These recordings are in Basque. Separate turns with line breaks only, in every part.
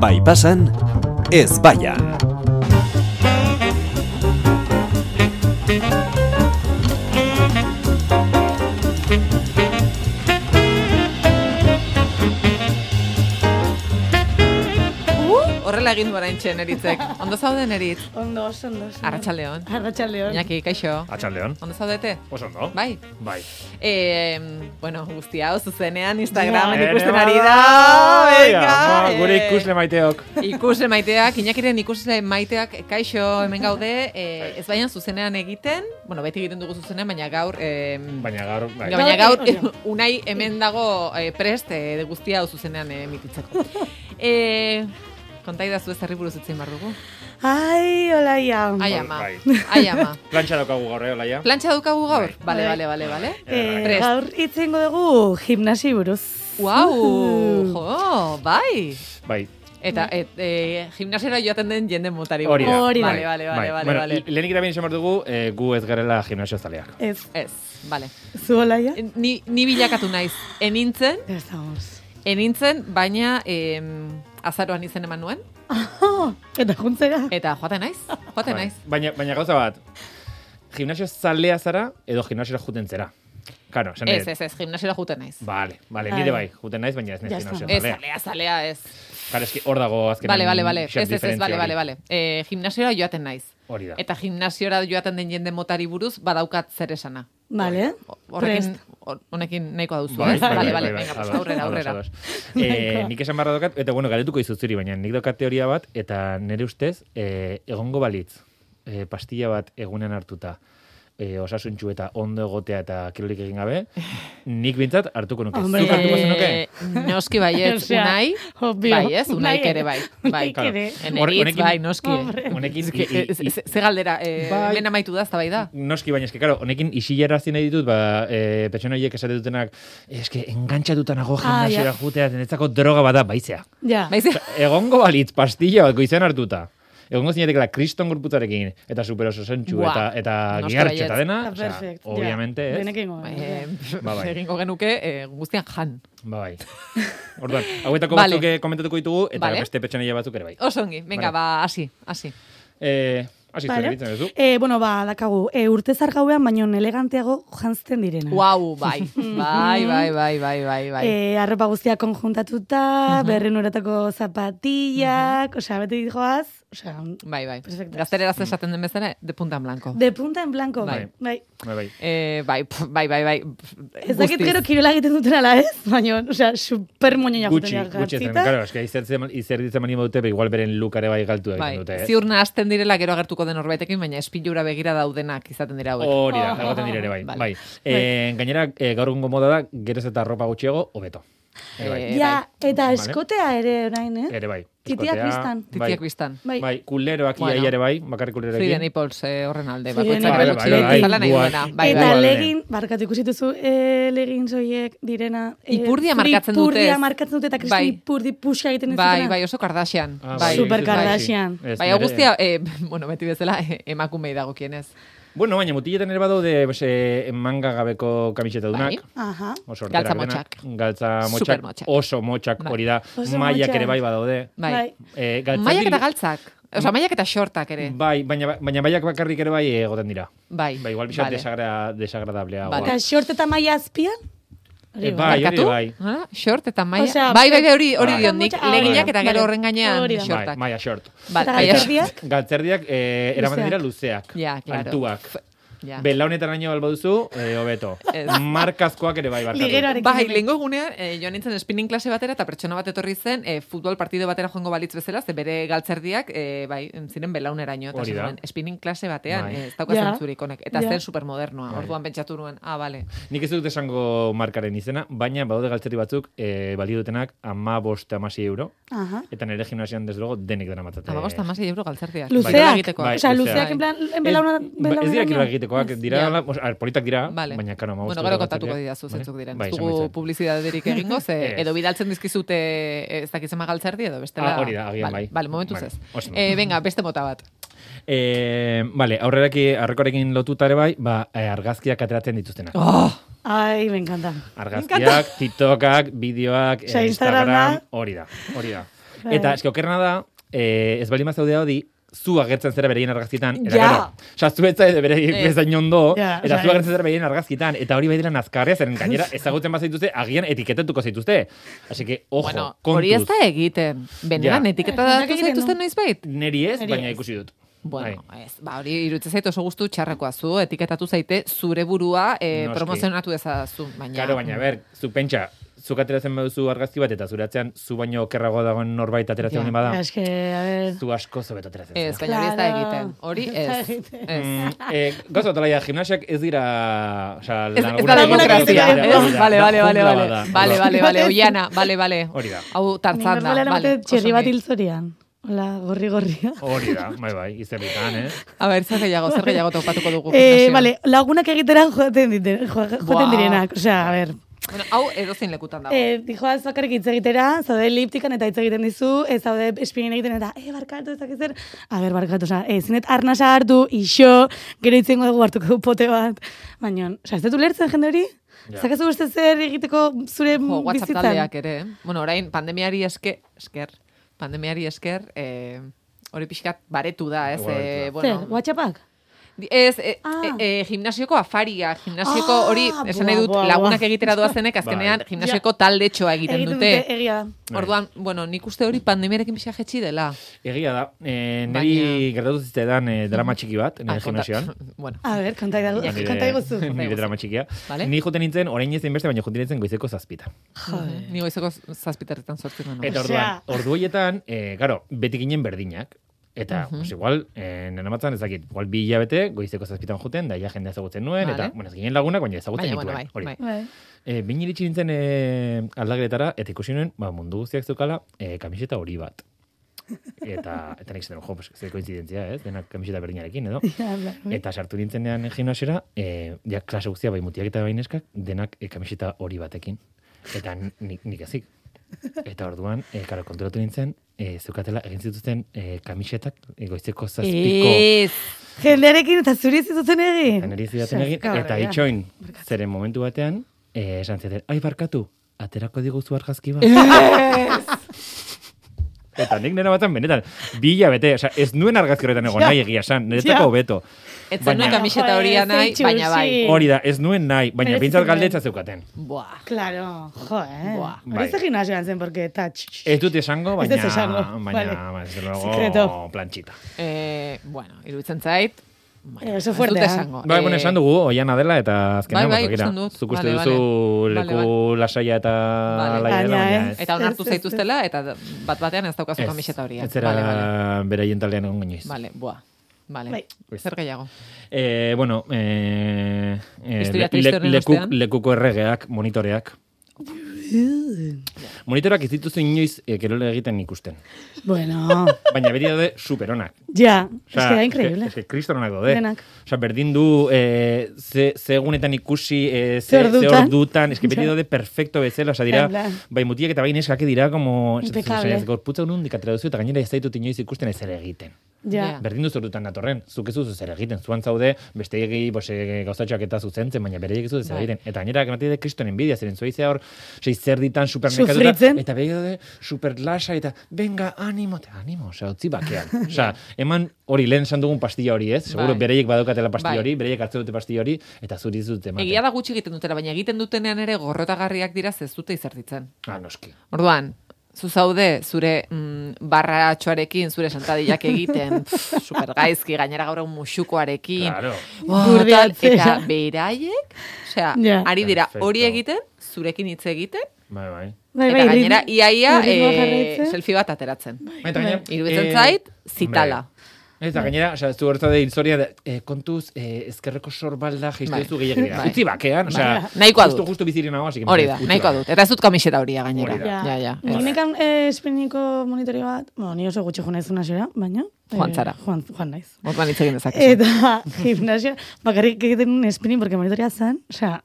Bai pasan, ez baian.
Horrela egin du orain txen eritzek. Ondo zauden eritz.
Ondo, oso ondo. oso ondo.
Arratxaldeon.
Arratxaldeon.
Iñaki, kaixo.
Atxaldeon.
Ondo zaudete?
Oso ondo.
Bai.
Bai.
E, bueno, guzti hau zuzenean Instagramen
Bai,
Ja.
ikusten ari da. Venga.
Ama, bai, gure
eh,
ikusle maiteok.
Ikusle maiteak, Iñakiren ikusle maiteak kaixo hemen gaude,
Bai.
eh, ez baian zuzenean egiten, bueno, beti egiten dugu zuzenean, baina gaur eh,
Baina gaur, bai.
Baina gaur,
Gaur egin
unai hemen dago eh, prest eh, guztia hau zuzenean eh, emititzeko. eh, konta idazu ez herri buruz etzen bar dugu.
Ai, hola ia.
Ai
Bai,
ama,
bai.
ai ama.
Plantxa daukagu gaur, eh, Olaia?
Plantxa daukagu gaur?
Bai.
Bale,
Bai.
bale, bale, bale.
Eh,
Prest.
gaur itzengo dugu gimnasi buruz.
Uau, jo, bai.
Bai.
Eta et, e, gimnasera joaten den jende motari.
Hori da. Bai.
Hori da.
Bale, bale, bale, bale,
bueno,
bale.
Lehenik eta behin esan behar dugu, eh, gu ez garela gimnasio zaleak.
Ez,
Ez, bale.
zu hola ia?
Ni, ni bilakatu naiz. Enintzen,
Ya estamos.
enintzen, baina em, azaroan izen eman nuen.
Ah, eta juntzera.
Eta joaten naiz, joaten
Bai.
naiz.
Baina, baina gauza bat, gimnasio zalea zara edo gimnasiora juten zera. Karo, esan
Ez,
nahi dut.
ez, ez, gimnasera joaten naiz.
Vale, vale,
Bai.
nire bai, juten naiz, baina ez naiz
Ja
gimnasio
Ez,
zalea.
zalea, zalea, ez.
Karo, eski hor dago azkenan.
Bale, bale, bale.
xak
Ez, ez, ez,
diferentzia
bale, bale,
hori.
bale. E, gimnasera joaten naiz.
Hori da.
Eta gimnasiora joaten den jende motari buruz badaukat zer esana.
Vale.
Horrekin,
Prest.
hor- honekin nahikoa duzu,
Bai,
ez?
bai,
Bale,
bai,
bale,
bai,
venga, pues,
ados,
aurrera,
ados,
aurrera.
ados. Eh, nik esan barra dokat, eta bueno, galetuko izut zuri, baina nik dokat teoria bat, eta nire ustez, eh, egongo balitz, eh, pastilla bat egunen hartuta, eh, osasuntxu eta ondo egotea eta kirolik egin gabe, nik bintzat hartuko nuke.
Hombre.
Zuk hartuko zenuke?
Eh, noski baietz,
Osea,
unai,
obvio.
bai ez, unai
Unai
ere bai. bai.
Unaik ere.
Horre-
Eneritz,
honekin-
bai, noski.
Hombre.
Honekin,
Eske,
i-
eh,
i-
ze- Ze galdera, eh,
Bai.
hemen amaitu da, ezta bai da.
Noski, baina eske, claro, honekin isilarazi nahi ditut, ba, e, pertsona horiek esate dutenak, "Eh, eske, engantxatuta nago
Ah,
gimnasiora jutea, denetzako droga bada, baizea.
Ja.
Baiz,
Egongo balitz pastilla bat goizean hartuta. Egongo zinetekela kriston gorputzarekin, eta super oso zentsu,
Buah,
eta, eta
noski
gihartxo eta
baietz.
dena.
Ah,
osea,
perfect, ja.
obviamente, ez?
Denek ingo.
eh,
Ba, bai.
egingo genuke eh, guztian jan.
Ba, bai. Orduan, hauetako
Vale.
batzuk eh, komentatuko ditugu, eta
Vale.
beste petxaneia batzuk ere bai.
Osongi, venga,
Vale.
ba, hasi, hasi.
Eh, hasi,
Vale.
zure bitzen duzu.
Eh, bueno, ba, dakagu, eh, urte zargauean, baino eleganteago jantzen direna.
Wow, bai, bai, bai, bai, bai, bai, bai.
Eh, arropa guztia konjuntatuta, berren uretako zapatillak, osea, beti joaz, osea,
Bai, bai.
Perfectas.
Gaztereraz esaten den bezala, de punta en blanco.
de punta en blanco.
Bai.
bai.
Bai, bai.
Eh, bai, pf, bai, bai, bai. pf,
Ez dakit
guztiz.
gero kirola egiten duten ala ez, baina, osea, super moñoña
Gutxi,
joten
gutxi, zen,
jartzita.
claro, eske izertzen, izertzen mani dute, be, igual beren lukare bai galtu egiten
Bai,
dute. Eh?
ziur nahazten direla gero agertuko den horbaitekin, baina espilura begira daudenak izaten dira hauek.
Hori
Oh.
da, egoten dire ere bai.
Vale.
bai. Eh, gainera, eh, gaur egungo moda da, geroz eta ropa gutxiago, hobeto. Ere bai.
Eh,
Ja, eta
Vale.
eskotea ere orain, eh?
Ere bai.
Titiak
Eskotea,
bistan.
Titiak biztan.
Bai.
Bai, kuleroak
Bueno.
bueno. iaia ere bai, bakarrik kuleroekin.
Frida Nipples eh, horren alde,
Frida
bakoitzak
Nipples.
bere
Bai, bai, bai.
bezala nahi
Buah.
duena. Bai,
eta
bai.
bai.
legin, barkatu ikusi duzu, eh, legin zoiek direna. eh,
Ipurdia markatzen dute,
Ipurdia
ez?
markatzen dute, eta kristin
Bai.
ipurdi puxa egiten ez
Bai,
dutena.
bai, oso Kardashian.
Ah,
bai,
Super
bai.
Kardashian.
Ez,
Bai,
nire-
hau guztia, eh, bueno, beti bezala, eh, emakumei dagokienez.
Bueno, baina mutiletan ere badaude pues, eh, manga gabeko kamiseta dunak.
Bai.
Aha.
Oso horterak
Galtza
denak.
motxak.
Galtza
Super
motxak.
motxak.
Oso motxak
Bai.
hori da.
Oso
Maiak
motxak.
ere bai badaude.
Bai.
Bai.
Eh, galtzen
Maiak eta
dira-
galtzak. Osa, maiak eta shortak ere.
Bai, baina, baina baiak bakarrik ere bai egoten dira.
Bai.
Bai, igual bizat
Vale.
desagra, desagradablea.
Vale.
Eta short eta maia azpian?
Bai. Eh, bai, hori
Barkatu?
ere bai.
Nola? Short eta maia.
Osea,
bai, bai, bai, hori, hori
bai.
diot nik.
Ah,
Leginak
bai.
eta gero
Vale.
horren gainean
Hori da.
Bai,
shortak.
maia short.
Bai,
Eta
bai,
galtzerdiak?
Galtzerdiak eh, eramaten dira luzeak.
Ja, claro.
Altuak.
Ja.
Belaunetan baino albaduzu, eh, hobeto.
Ez.
Markazkoak ere bai barkatu.
Ligeroarekin.
Bai, lehenko egunean, eh, joan nintzen spinning klase batera eta pertsona bat etorri zen eh, futbol partido batera joango balitz bezala, ze bere galtzerdiak, eh, bai, ziren belauneraino. Eta
Hori
esan
da.
nuen, spinning klase batean,
Bai.
eh, ez dauka
Ja.
zentzurik honek. Eta
Ja.
zen supermodernoa, orduan pentsatu nuen, ah, bale.
Nik ez dut esango markaren izena, baina badaude galtzerri batzuk e, balio dutenak ama boste amasi euro,
Aha.
eta nire gimnasian deslogo denik dena matzate.
Amabost, amasei euro galtzerdiak. Kirola
Luzeak.
egiteko.
Bai,
Osea,
luzeak.
luzeak, en plan, en belauna...
ez, ez dira
belauneraino?
kirola egitekoak, dira,
Ja.
ja. politak dira,
Vale.
baina karo, ama
bueno, gero kontatuko didazu zentzuk diren.
Bai,
ez
esango
dugu
dizuet.
publizitaterik egingo, ze
Ez.
edo bidaltzen dizkizute eh, ez dakitzen magaltzerdi edo bestela.
Ah, hori da, agian
Vale,
bai.
Vale, momentuz
Vale,
ez.
oso ondo.
Eh, venga, beste mota bat.
Eh, vale, aurreraki, arrekorekin lotutare bai, ba, eh, argazkiak ateratzen dituztenak.
Oh,
Ai, me encanta.
Argazkiak, TikTokak, bideoak, eh,
Osea,
Instagram,
Instagrama-
hori da, hori da.
Bai.
Eta eske okerrena da, eh, ez bali mazaude hori, zu agertzen zera bereien argazkitan, eta
Ja.
gero, oza, zu ez zaude bereien
Ez.
bezain ondo,
Ja,
eta
osea,
zu
ez.
agertzen zera bereien argazkitan, eta hori bai dira nazkarria, zeren gainera ezagutzen bat zaituzte, agian etiketatuko zaituzte. Así que, ojo,
Oh, bueno,
kontuz.
hori ez da egiten. Benetan,
Ja.
etiketa
Ez, ez
datu
dakit,
zaituzten
no?
noiz bait?
Neri ez,
Neri
baina
ez.
ikusi dut. Bai,
Bueno, ez, ba, hori irutzen zait oso gustu txarrekoa zu, etiketatu zaite zure burua e,
Noski.
promozionatu dezazu, baina...
Karo, baina, ber, zu pentsa, zuk ateratzen baduzu argazki bat, eta zuratzean, zu baino okerrago dagoen norbait
Ja.
ateratzen honi bada,
Eske, a ber...
zu asko zobeto ateratzen
Ez,
zara.
baina hori ez da
Claro.
egiten. Hori
Ez da
ez.
egiten.
Ez.
Mm, eh, gauza bat alaia, gimnasiak ez dira... Osa,
Ez, ez da
Lagunak
demokrazia.
egiten dira,
Ez, Vale, vale, vale, vale. Vale, vale, vale,
Batez-
oiana, vale, vale.
Hori da.
Hau tartzan da, vale.
Txerri
oso
bat
ongi.
hiltzorian. Hola, gorri gorria.
Hori da, bai, bai, izerritan, eh?
A ber, zer gehiago, zer gehiago topatuko dugu.
Eh,
gimnasioan?
vale, lagunak egitera joaten, diten, jo-
Buah. Ba.
joaten direnak, osea, a ber.
Bueno, hau edozein lekutan dago.
Eh, dijoaz bakarrik hitz egitera, zaude eliptikan eta hitz egiten dizu, ez zaude espinen egiten eta, eh, barkatu, ez dakit zer. A ber, barkatu, osea, eh, zinet arnasa hartu, iso, gero itzengo dugu hartuko du pote bat. Baina, osea, ez dut ulertzen jende hori?
Ja.
Yeah. Zakazu beste zer egiteko zure
Jo, WhatsApp
mm, bizitzan.
taldeak ere. eh? Bueno, orain pandemiari eske, esker, pandemiari esker, eh, hori pixkat baretu da, ez?
Baretu da.
Eh,
Zer,
bueno,
WhatsAppak?
di- ez, eh,
Ah.
eh, eh, gimnasioko afaria, gimnasioko
Ah,
hori, esan nahi
buah,
dut,
buah,
lagunak
buah.
egitera doazenek, azkenean
Bai.
gimnasioko taldetxoa egiten dute.
egia da.
Bai.
Orduan, bueno, nik uste hori pandemiarekin pixka jetxi dela.
Egia da, eh, niri
Baina-
gertatu zitzaidan eh, drama txiki bat,
Ah,
nire
konta-
gimnasioan.
bueno,
A ber, kanta
Nire-
iguzu. Kanta iguzu.
Nire drama txikia.
Vale.
Ni joten nintzen, orain ez beste, baina joten nintzen goizeko zazpitan.
ni goizeko z- zazpiterritan sortzen duen.
Eta orduan, ordu horietan, eh, garo, beti ginen berdinak. Eta,
Mhm.
pues, igual, eh, nena batzan, ezakit, igual bi hilabete, goizeko zazpitan joten, da ja jendea ezagutzen nuen,
Vale.
eta, bueno, ez ginen lagunak, baina
Baina,
ezagutzen
bueno,
nituen.
bai,
hori.
bai.
Bai.
E, Bini iritsi nintzen e, aldageletara, eta ikusi nuen, ba, mundu guztiak zukala, e, kamiseta hori bat. Eta, eta nik zaten, jo, pues, zer koincidentzia, ez? Denak kamiseta berdinarekin, edo?
Ja, bai.
Eta sartu nintzenean gimnasiora, e, ja, klase guztia, bai mutiak eta bai neskak, denak e, kamiseta hori batekin. Eta nik, nik ezik. Eta orduan, e, karo, konturatu nintzen, e, zeukatela egin zituzten e, kamisetak e, goizeko zazpiko
Ez,
Jendearekin eta zuri ez zituzten egin.
Eta niri zidaten egin, eta
Kabrera.
itxoin, zeren momentu batean, eh, esan zidaten, ai barkatu, aterako diguzu argazki bat. eta nik nena batan benetan, bi hilabete, osea, ez nuen argazki horretan egon
Ja.
nahi egia esan, niretzako
Ja.
hobeto.
ez
Baina-
zenuen kamiseta hori
Joder,
nahi,
zein
baina bai.
txursi.
Hori da, ez nuen nahi, baina
Eh. Merezi
pintzat
zenuen.
galdetza zeukaten.
Buah.
Claro, jo, eh.
Buah.
Hori ez da
Bai.
gimnasioan zen, porque eta... tx, tx, tx.
Ez dut esango,
Ez
baina,
ez esango,
baina,
vale.
desde luego,
Secreto.
plantxita.
Eh, bueno, iruditzen zait. Bueno,
Eh, oso
ez
fuertea.
dut esango.
Bai, bueno,
Eh,
esan dugu, oiana dela eta azkenean
Bai, bai,
botokira.
ikusten dut.
Zuk uste
Vale,
duzu
vale.
leku
Vale,
lasaia eta
Vale.
laia dela,
Baina,
baina
eh.
ez.
Eta onartu
Ez, ez, ez.
zaituztela, eta bat batean ez daukazu kamiseta hori.
Ez
eh.
zera
Vale, vale.
beraien taldean egon inoiz.
Vale, buah. Vale.
Bai.
Zer gehiago.
Eh, bueno, eh, eh,
Historia
le-
triste
le-
horren
leku,
ostean?
lekuko erregeak, monitoreak. Monitoreak ez dituzu inoiz eh, kirole egiten ikusten.
Bueno,
Baina beti daude superonak.
ja,
Osea,
es que da increíble.
eske- eske kristononak daude.
Denak.
Osea, berdin du eh, ze, ze egunetan ikusi, eh, ze,
Ze ordutan.
ze ordutan, eske beti
Ja.
daude perfecto bezala, osea dira,
En plan.
bai mutiak eta bai neskak dira, como, esaten duzu,
Impecable.
ez, gorputza unundik atera duzu, eta gainera ez zaitut inoiz ikusten ez ere egiten.
Ja.
Berdin duz ordutan datorren, zuk ez duzu zer egiten, zuan zaude, beste egi, bose, gauzatxoak eta zuzentzen, baina bere ez duzu zer
Bai.
egiten. Eta gainera, ematen dide kriston enbidia, zeren zuei zea hor, sei zer ditan supermerkatuta,
Sufritzen.
eta bere daude superlasa, eta benga, animo, eta animo, osea, utzi bakean. Osea, eman hori lehen esan dugun pastilla hori, ez? Seguro
Bai.
bereiek badaukatela pastilla
Bai.
hori, bereiek hartzen dute pastilla hori, eta zuri ez dute ematen.
Egia da gutxi egiten dutela, baina egiten dutenean ere gorrotagarriak dira ez dute izertitzen.
Ah, noski.
Orduan, zu zaude zure mm, barratxoarekin, zure santadillak egiten, pff, supergaizki, gainera gaur egun musukoarekin.
Claro.
Buah, tal,
Burdeatzea.
eta beraiek, osea,
Ja.
ari dira
Perfecto.
hori egiten, zurekin hitz egiten,
Bai, bai.
Bai,
eta
ritmo-
gainera iaia
ritmoa
eh,
jarraitzen. Bai.
selfie bat ateratzen.
Eta gainera,
Bai. Iruditzen
eh,
zait, zitala.
hombre, Eta gainera, osea, zu hortza de historia de, eh, kontuz, eh, ezkerreko sorbalda jeistu
Bai.
duzu gehiagia.
Bai.
Utzi bakean, osea,
Nahikoa
justu,
dut.
justu bizirik nago, así que
Hori da,
utzi
nahikoa
bakean.
dut. Eta ez dut kamiseta horia gainera.
Hori da.
Ja, ja. Bai.
Nik
ez.
nekan eh, espiniko monitorio bat, bueno, ni oso gutxi joan naiz unasera, baina...
Joan
eh,
zara.
Joan, joan naiz.
Orduan hitz egin dezakezu.
Eta gimnasia, bakarrik egiten un espinin, porque monitoria zen, osea...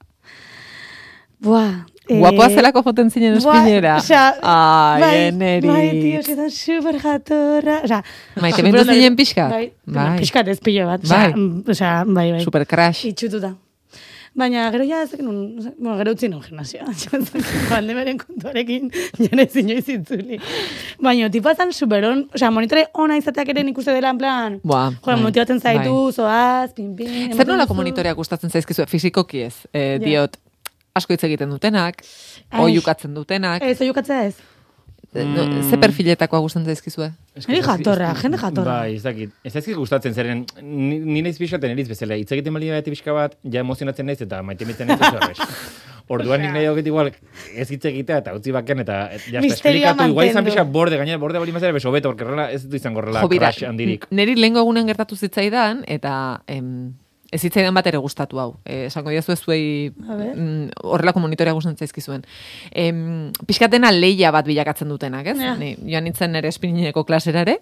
Buah... eh,
Guapoa zelako joten zinen
buah,
espinera.
osea,
Ai,
bai,
Eneritz.
Bai, tio, que da super jatorra. Osea,
Maite,
super
bildu
ondo-
zinen pixkat?
Bai,
Bai.
pixkat ez pilo bat. Osea,
Bai.
mm, osea, bai, bai.
Super crash.
Itxututa. Baina gero ja, ez dakit nun, ez dakit- bueno, gero utzi non gimnasioa. Pandemaren kontuarekin jene ez inoiz itzuli. Baina tipa zan superon, osea, monitore ona izateak ere nik uste dela en plan,
Buah,
joan,
bai,
motibatzen zaitu, zoaz, pin, pin.
Zer
ematen
nolako
duzu.
monitoreak gustatzen zaizkizu? Fizikoki ez, eh,
Ja.
diot, asko hitz egiten dutenak,
Ai.
oiukatzen dutenak,
Ez, oiukatzea ez.
eh, no, ze perfiletakoa gustatzen zaizkizue?
Hori jatorra, jende jatorra.
Bai, ez dakit. Ez dakit gustatzen zeren, ni, ni naiz pixka eta niriz bezala. Itz egiten bali bati pixka bat, ja emozionatzen naiz eta maite miten ez horrez. Orduan nik nahi dut igual ez hitz egitea eta utzi bakean eta et- ja, está,
Misterioa
esplikatu. Igual izan
mantendu.
pixka borde, gainera borde bali mazera beso beto, porque horrela ez du izango horrela
Jo, bira,
crash handirik.
Neri lehenko egunen gertatu zitzaidan, eta em, ez zitzaidan bat ere gustatu hau. Eh, esango diazu ez zuei
A ber.
mm, horrelako monitorea gustatzen zaizkizuen. Em, pixkat dena leia bat bilakatzen dutenak, ez?
Ja.
Ni, joan nintzen ere espinineko klasera ere,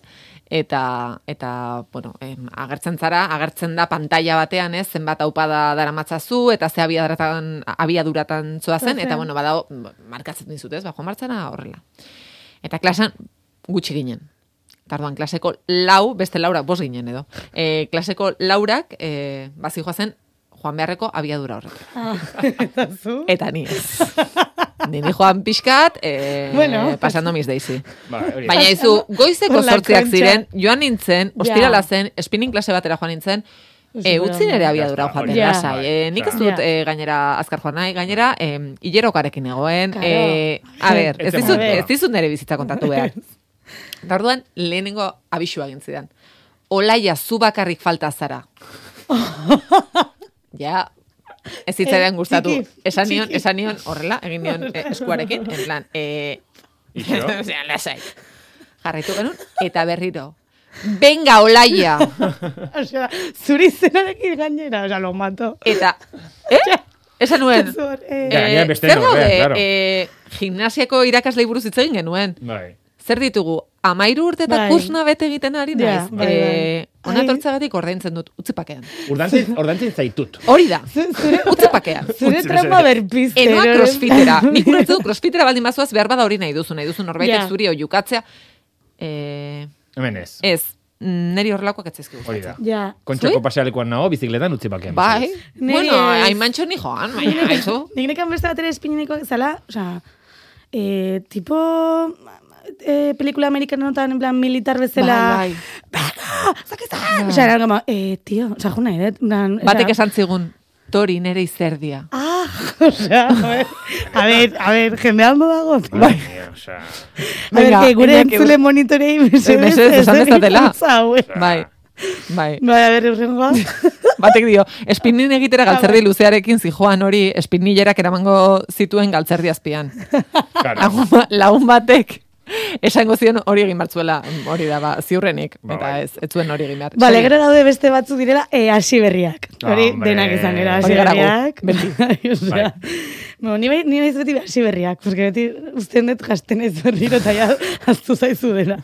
eta, eta bueno, em, agertzen zara, agertzen da pantalla batean, ez? Zenbat aupada daramatzazu, eta ze abiaduratan, abiaduratan zoazen, eta
Zoazen.
bueno, badao, markatzen dizut, ez? Ba, joan martzana horrela. Eta klasan gutxi ginen. Tarduan, klaseko lau, beste laura, bos ginen edo. E, klaseko laurak, e, bazi joazen, joan beharreko abiadura horrek.
Eta zu?
Eta ni ez. Nini joan pixkat, e,
Bueno.
pasando mis daisy.
Ba, hori da.
Baina izu, goizeko
La
sortziak
concha.
ziren, joan nintzen,
Ja.
ostirala zen, spinning klase batera joan nintzen, E, utzi nere abiadura
Ja,
joaten,
hori da.
lasai. E, nik ez dut
Ja.
e, gainera azkar joan nahi, gainera em, hilerokarekin egoen.
Claro.
E, a ber, ez
Ez zen
dizut,
momentua.
ez dizut nere bizitza kontatu behar. Eta orduan, lehenengo abisua egin zidan. Olaia, zu bakarrik falta zara. ja, ez
Eh,
zitzaidan gustatu.
txiki,
Esan nion,
txiki.
esan nion, horrela, egin nion eh, eskuarekin, en plan, eh,
Ixo.
Osea, lasai. Jarraitu genuen, eta berriro. Benga, olaia!
Osea, zuri zenarekin gainera, osea, lo mato.
Eta, eh? Esan nuen,
Zor, eh,
Ja, gainera
eh,
beste
zer
norbe,
gaude,
claro.
eh, gimnasiako irakaslei buruz hitz egin genuen.
Bai.
Zer ditugu, amairu urte eta
Bai.
kursna bete egiten ari
Ja,
naiz.
bai,
eh,
bai.
ona
Ai.
tortzagatik ordaintzen dut, utzi pakean.
Ordantzen, ordantzen zaitut.
Hori da,
zure-
utzi pakean.
Zure
Utzi
trauma
mesedez.
berpizte.
Enoa crossfitera. Nik ulertzen dut crossfitera baldin bazoaz behar bada hori nahi duzu, nahi duzu norbaitek
Ja.
zuri oiukatzea. Eh,
Hemen ez.
ez, neri horrelakoak etzezki
Hori da.
gustatzen.
Ja.
Kontxako
Zui?
pasealekuan nago, bizikletan utzi bakean.
Bai,
Neri
bueno,
ez.
haimantxo ni joan, baina, haizu.
Nik nekan beste bat ere espinineko zala, osea, eh, tipo eh, pelikula amerikanotan, en plan, militar bezala.
Bai, bai.
Baka, zakezan! Osea, eran gama, eh, tio, osea, juna ere, en plan...
Batek
osea,
esan zigun, tori nere izerdia.
Ah, osea, a ver, a ver, a ver, jendea ondo dago.
Bai. Osea,
A ver,
Venga,
que
venga,
gure
que- Eh,
entzule monitorei mesedez,
mesedez,
ez
esan
egin
dezatela.
hau, eh.
Ah.
Bai, bai.
Bai, a ber, urrengoa.
Batek dio, espinin egitera
Ba, bai.
galtzerdi luzearekin zijoan hori espinilerak eramango zituen galtzerdi azpian.
Claro.
Lagun, ba- lagun batek esango zion hori egin bartzuela, hori da, ba, ziurrenik,
Ba,
eta
bai.
ez, ez zuen hori egin behar.
Vale, gero Ba, daude beste batzu direla eh, hasi berriak. Hori
Hombre.
denak izan gero hasi
Ah, Hori gara gu,
berriak.
beti.
Bai, osea. Bueno, ni bai- ni naiz beti hasi berriak, porque beti uzten dut jasten ez berriro eta ja aztu zaizu dela.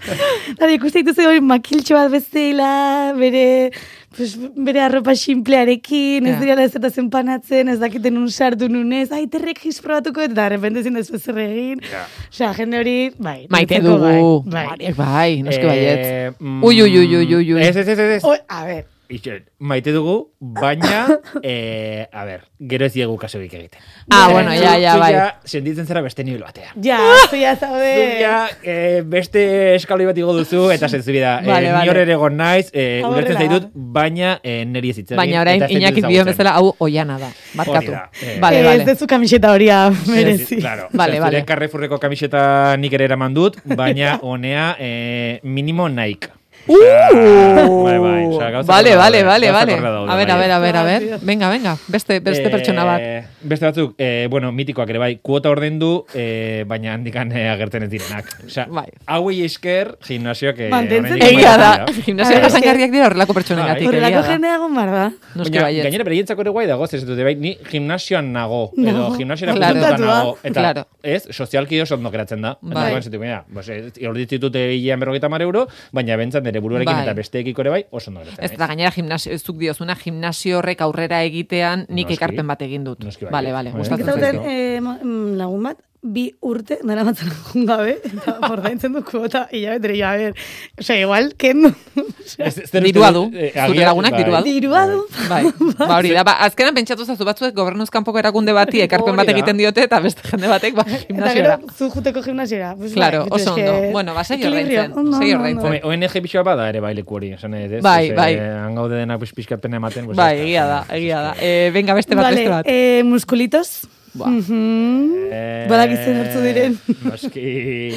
Eta ikusten dituzu hori makiltxo bat bezala, bere pues, bere arropa xinplearekin, ez
Ja.
direla ez eta zenpanatzen, ez dakiten un sartu nunez, ai, terrek jisprobatuko, eta de repente ezin dezu ezer egin.
Ja.
Osea, jende hori, bai.
Maite
niretzako
dugu.
Bai. bai.
Horiek Bai, noski baietz.
Eh, mm,
Ui, ui, ui, ui, ui, ui.
Ez, ez, ez, ez.
O, a ver,
Ixen, Maite dugu, baina, eh, a ber, gero ez diegu kaso bik egiten.
Ah, bueno, ja, ja,
Zu
bai.
senditzen zara beste nivel batean.
ja,
Ah.
zu ja
Zu
zaude.
ja, eh, beste eskaloi bat igo duzu, eta zentzibida, eh,
Vale, vale.
ni hor ere egon naiz, eh,
Hau
ulertzen
horrela
zaitut, baina eh, neri ez hitz egin,
Baina orain,
eta ez zaitut
inakik
ezagutzen.
dio bezala, hau oiana da.
Hori
Barkatu.
da, eh.
Vale,
Eh,
vale.
Ez dezu kamiseta horia
Ez,
merezi.
Claro,
Vale, vale.
vale, vale. Carrefourreko kamiseta nik ere eraman dut, baina honea eh, minimo naik. Uh! Bai, bai, osea, gauzak
Vale,
horrela
vale,
daude,
vale,
gauzak
vale.
horrela daude,
A ver,
bai.
a ver, a ver, a
Ah, tío.
ver. Venga, venga, beste, beste
Eh,
pertsona bat.
Beste batzuk, eh, bueno, mitikoak ere bai, kuota orden du, eh, baina handikan eh, agertzen ez direnak. Osea,
Bai.
hauei esker gimnasioak... Eh,
Mantentzen
oraindik
dira.
Egia da,
mantentzen dira.
gimnasia
Bai.
jasangarriak dira horrelako pertsonengatik.
Bai.
egia
Horrelako
da.
jendea egon behar da.
Noski
Baina,
baietz.
gainera bereientzako ere guai dago, ez dute bai, ni gimnasioan nago, edo
Nago.
gimnasiora
Claro.
puntatuta nago, eta
Claro.
ez, sozialki oso ondo geratzen da. Eta
Bai.
orduan zetu, mira, bos, hor dititute eh, hilean berrogeita mar euro, baina bentzat nire buruarekin
Bai.
eta besteekiko ere bai, oso ondo geratzen.
Ez da gainera gimnasio, zuk diozuna gimnasio horrek aurrera egitean nik
Noski.
ekarpen bat egin dut.
Noski baietz.
Vale, vale,
Bai.
Nik
gustatzen
Nik
zauten
zaizu.
zaizkio.
eh, mo- mm, lagun bat, bi urte dara matzan gabe, eta bordaintzen du kuota, hilabetera, a ber, osea, igual, kendu.
Ez- ez den
Dirua
uste
du.
dut, eh,
Zure
agian-
lagunak
bai.
dirua du.
Dirua du.
Bai, ba hori da, ba, azkenan pentsatu zazu batzuek gobernuz kanpoko erakunde bati ekarpen bat
Hori da.
egiten diote eta beste jende batek ba
Eta gero,
gimnasiora.
zu juteko gimnasiera. Pues,
Claro,
bai,
oso
eske-
ondo. Bueno, ba, segi
Ekilibrio.
ordaintzen,
Ondo,
segi
ondo,
ordaintzen.
ondo.
Home, ONG pixoa bada ere bai leku hori, esan ez, ez?
Bai,
Ez,
bai.
eh, Han gaude denak pues pixkatpena ematen. pues,
Bai,
ez da.
egia da, egia da. Eh, venga, beste bat, beste
Vale,
bat.
eh, muskulitos.
Ba.
Mhm.
Eh,
badakizu nortzuk diren.
Noski.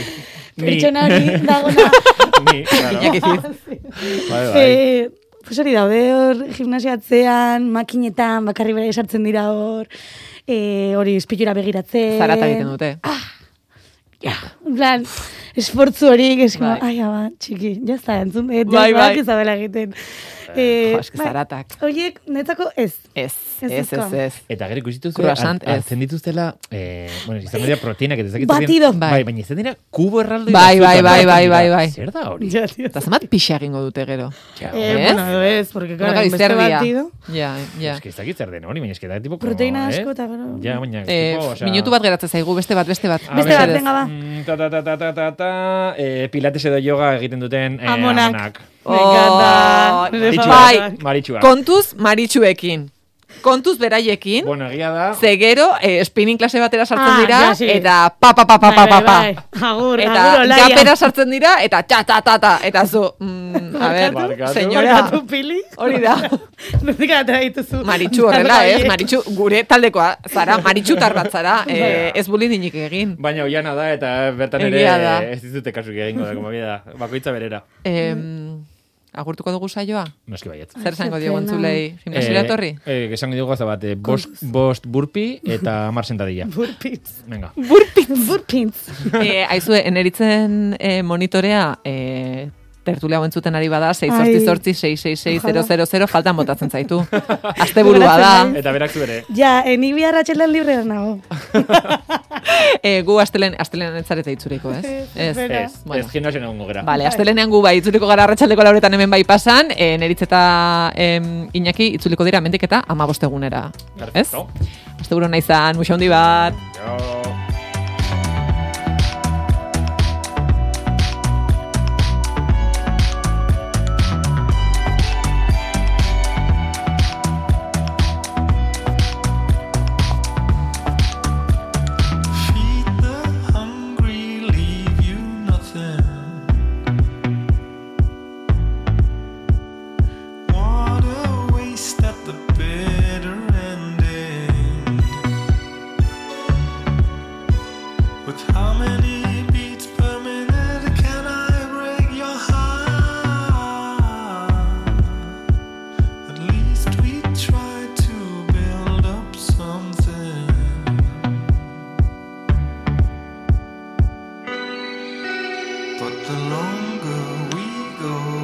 Ni,
Pertsona hori dagoena.
ni, claro.
Iñaki Ziz.
Ah,
Bai, bai.
Eh, pues hori daude hor gimnasiatzean, makinetan, bakarri bera esartzen dira hor, eh, hori espilura begiratzen.
Zarata egiten dute.
Ah, Ja, en plan, esfortzu hori, esko,
Bai.
ai, ama, txiki, jazta, entzun, et,
Bai,
bai,
bai.
bai. izabela egiten. Eh,
jo, eske zaratak.
Horiek, netzako ez.
Ez,
Ez
ez, ez,
ezkoa.
ez.
Eta gero ikusitu zuen,
Croissant, ez.
hartzen dituztela, eh, bueno, izan dira proteinak, eta ezakit
Batido.
Bai, baina izan dira kubo erraldoi.
Bai, bai,
batzutan,
bai, bai, bai, bai.
Zer da hori?
Ja, tio.
Eta zenbat pixa egingo dute gero.
Ja,
Eh,
Ez?
bueno, edo ez, porque,
Bueno,
claro,
claro,
beste
izterdia.
batido.
Ja, ja.
Es que ez dakit zer den hori, baina ez que da tipo...
Proteina
eh?
asko eta gero-
Ja, baina...
Eh,
tipo, osea-
minutu bat geratzen zaigu, beste bat, beste bat.
A
Beste bat,
Mesedez.
venga, ba.
Mm, Ta, ta, ta, ta, ta, ta, ta, eh, pilates edo yoga egiten duten eh,
Amonak. Bai.
amonak.
Oh,
Me encanta. Nire
Maritxuak.
Bai.
favoritoak.
Maritxuak.
kontuz maritxuekin. Kontuz beraiekin.
Bueno, egia da...
Ze gero, eh, spinning klase batera sartzen
Ah,
dira,
ja, sí.
eta pa, pa, pa, pa, pa,
Bai,
pa,
bai,
pa.
bai. Agur,
Eta
agur, olaia.
gapera sartzen dira, eta ta, ta, ta, ta. Eta zu, mm, a ber,
Barkatu.
senyora,
Barkatu, pili.
hori da.
Nondik atera dituzu?
Maritxu horrela, ¿eh? ez?
Arroiek.
Maritxu, gure taldekoa zara, maritxu tarbat zara,
Bai.
eh, ez bulin dinik egin.
Baina oiana da eta bertan ere
Egia da.
eh, ez dizute kasuk egingo da, komo da. Bakoitza berera.
Em, agurtuko dugu saioa?
Noski baietz.
Zer zango
ze
diogu
pena.
entzulei? Gimnasiora
Eh,
etorri?
Eh, esango diogu gauza bat, eh, bost, bost burpi eta hamar sentadilla.
Burpins.
Venga.
Burpins. Burpins.
eh, aizue, eneritzen eh, monitorea eh, tertulia entzuten ari bada, 6 sortzi
Ai.
sortzi, 666 faltan botatzen zaitu. Azte da.
Botatzen
Eta berak zu bere.
Ja, eni bihar atxelan libre nago.
Eh, gu astelen, astelen etzarete itzuriko, ez? Ez,
Bera.
Ez,
Bueno.
ez gimnasioan egongo gera.
Vale, astelenean gu bai, itzuliko gara arratsaldeko lauretan hemen bai pasan, eh, neritz eta em, Iñaki itzuliko dira mendik eta amabostegunera. Ez?
Perfecto.
Asteburu nahi zan, musa handi bat.
Jo.
Feed the hungry, leave you nothing. What a waste at the bitter ending. With how many beats per minute can I break your heart? At least we tried to build up something. But the longer we go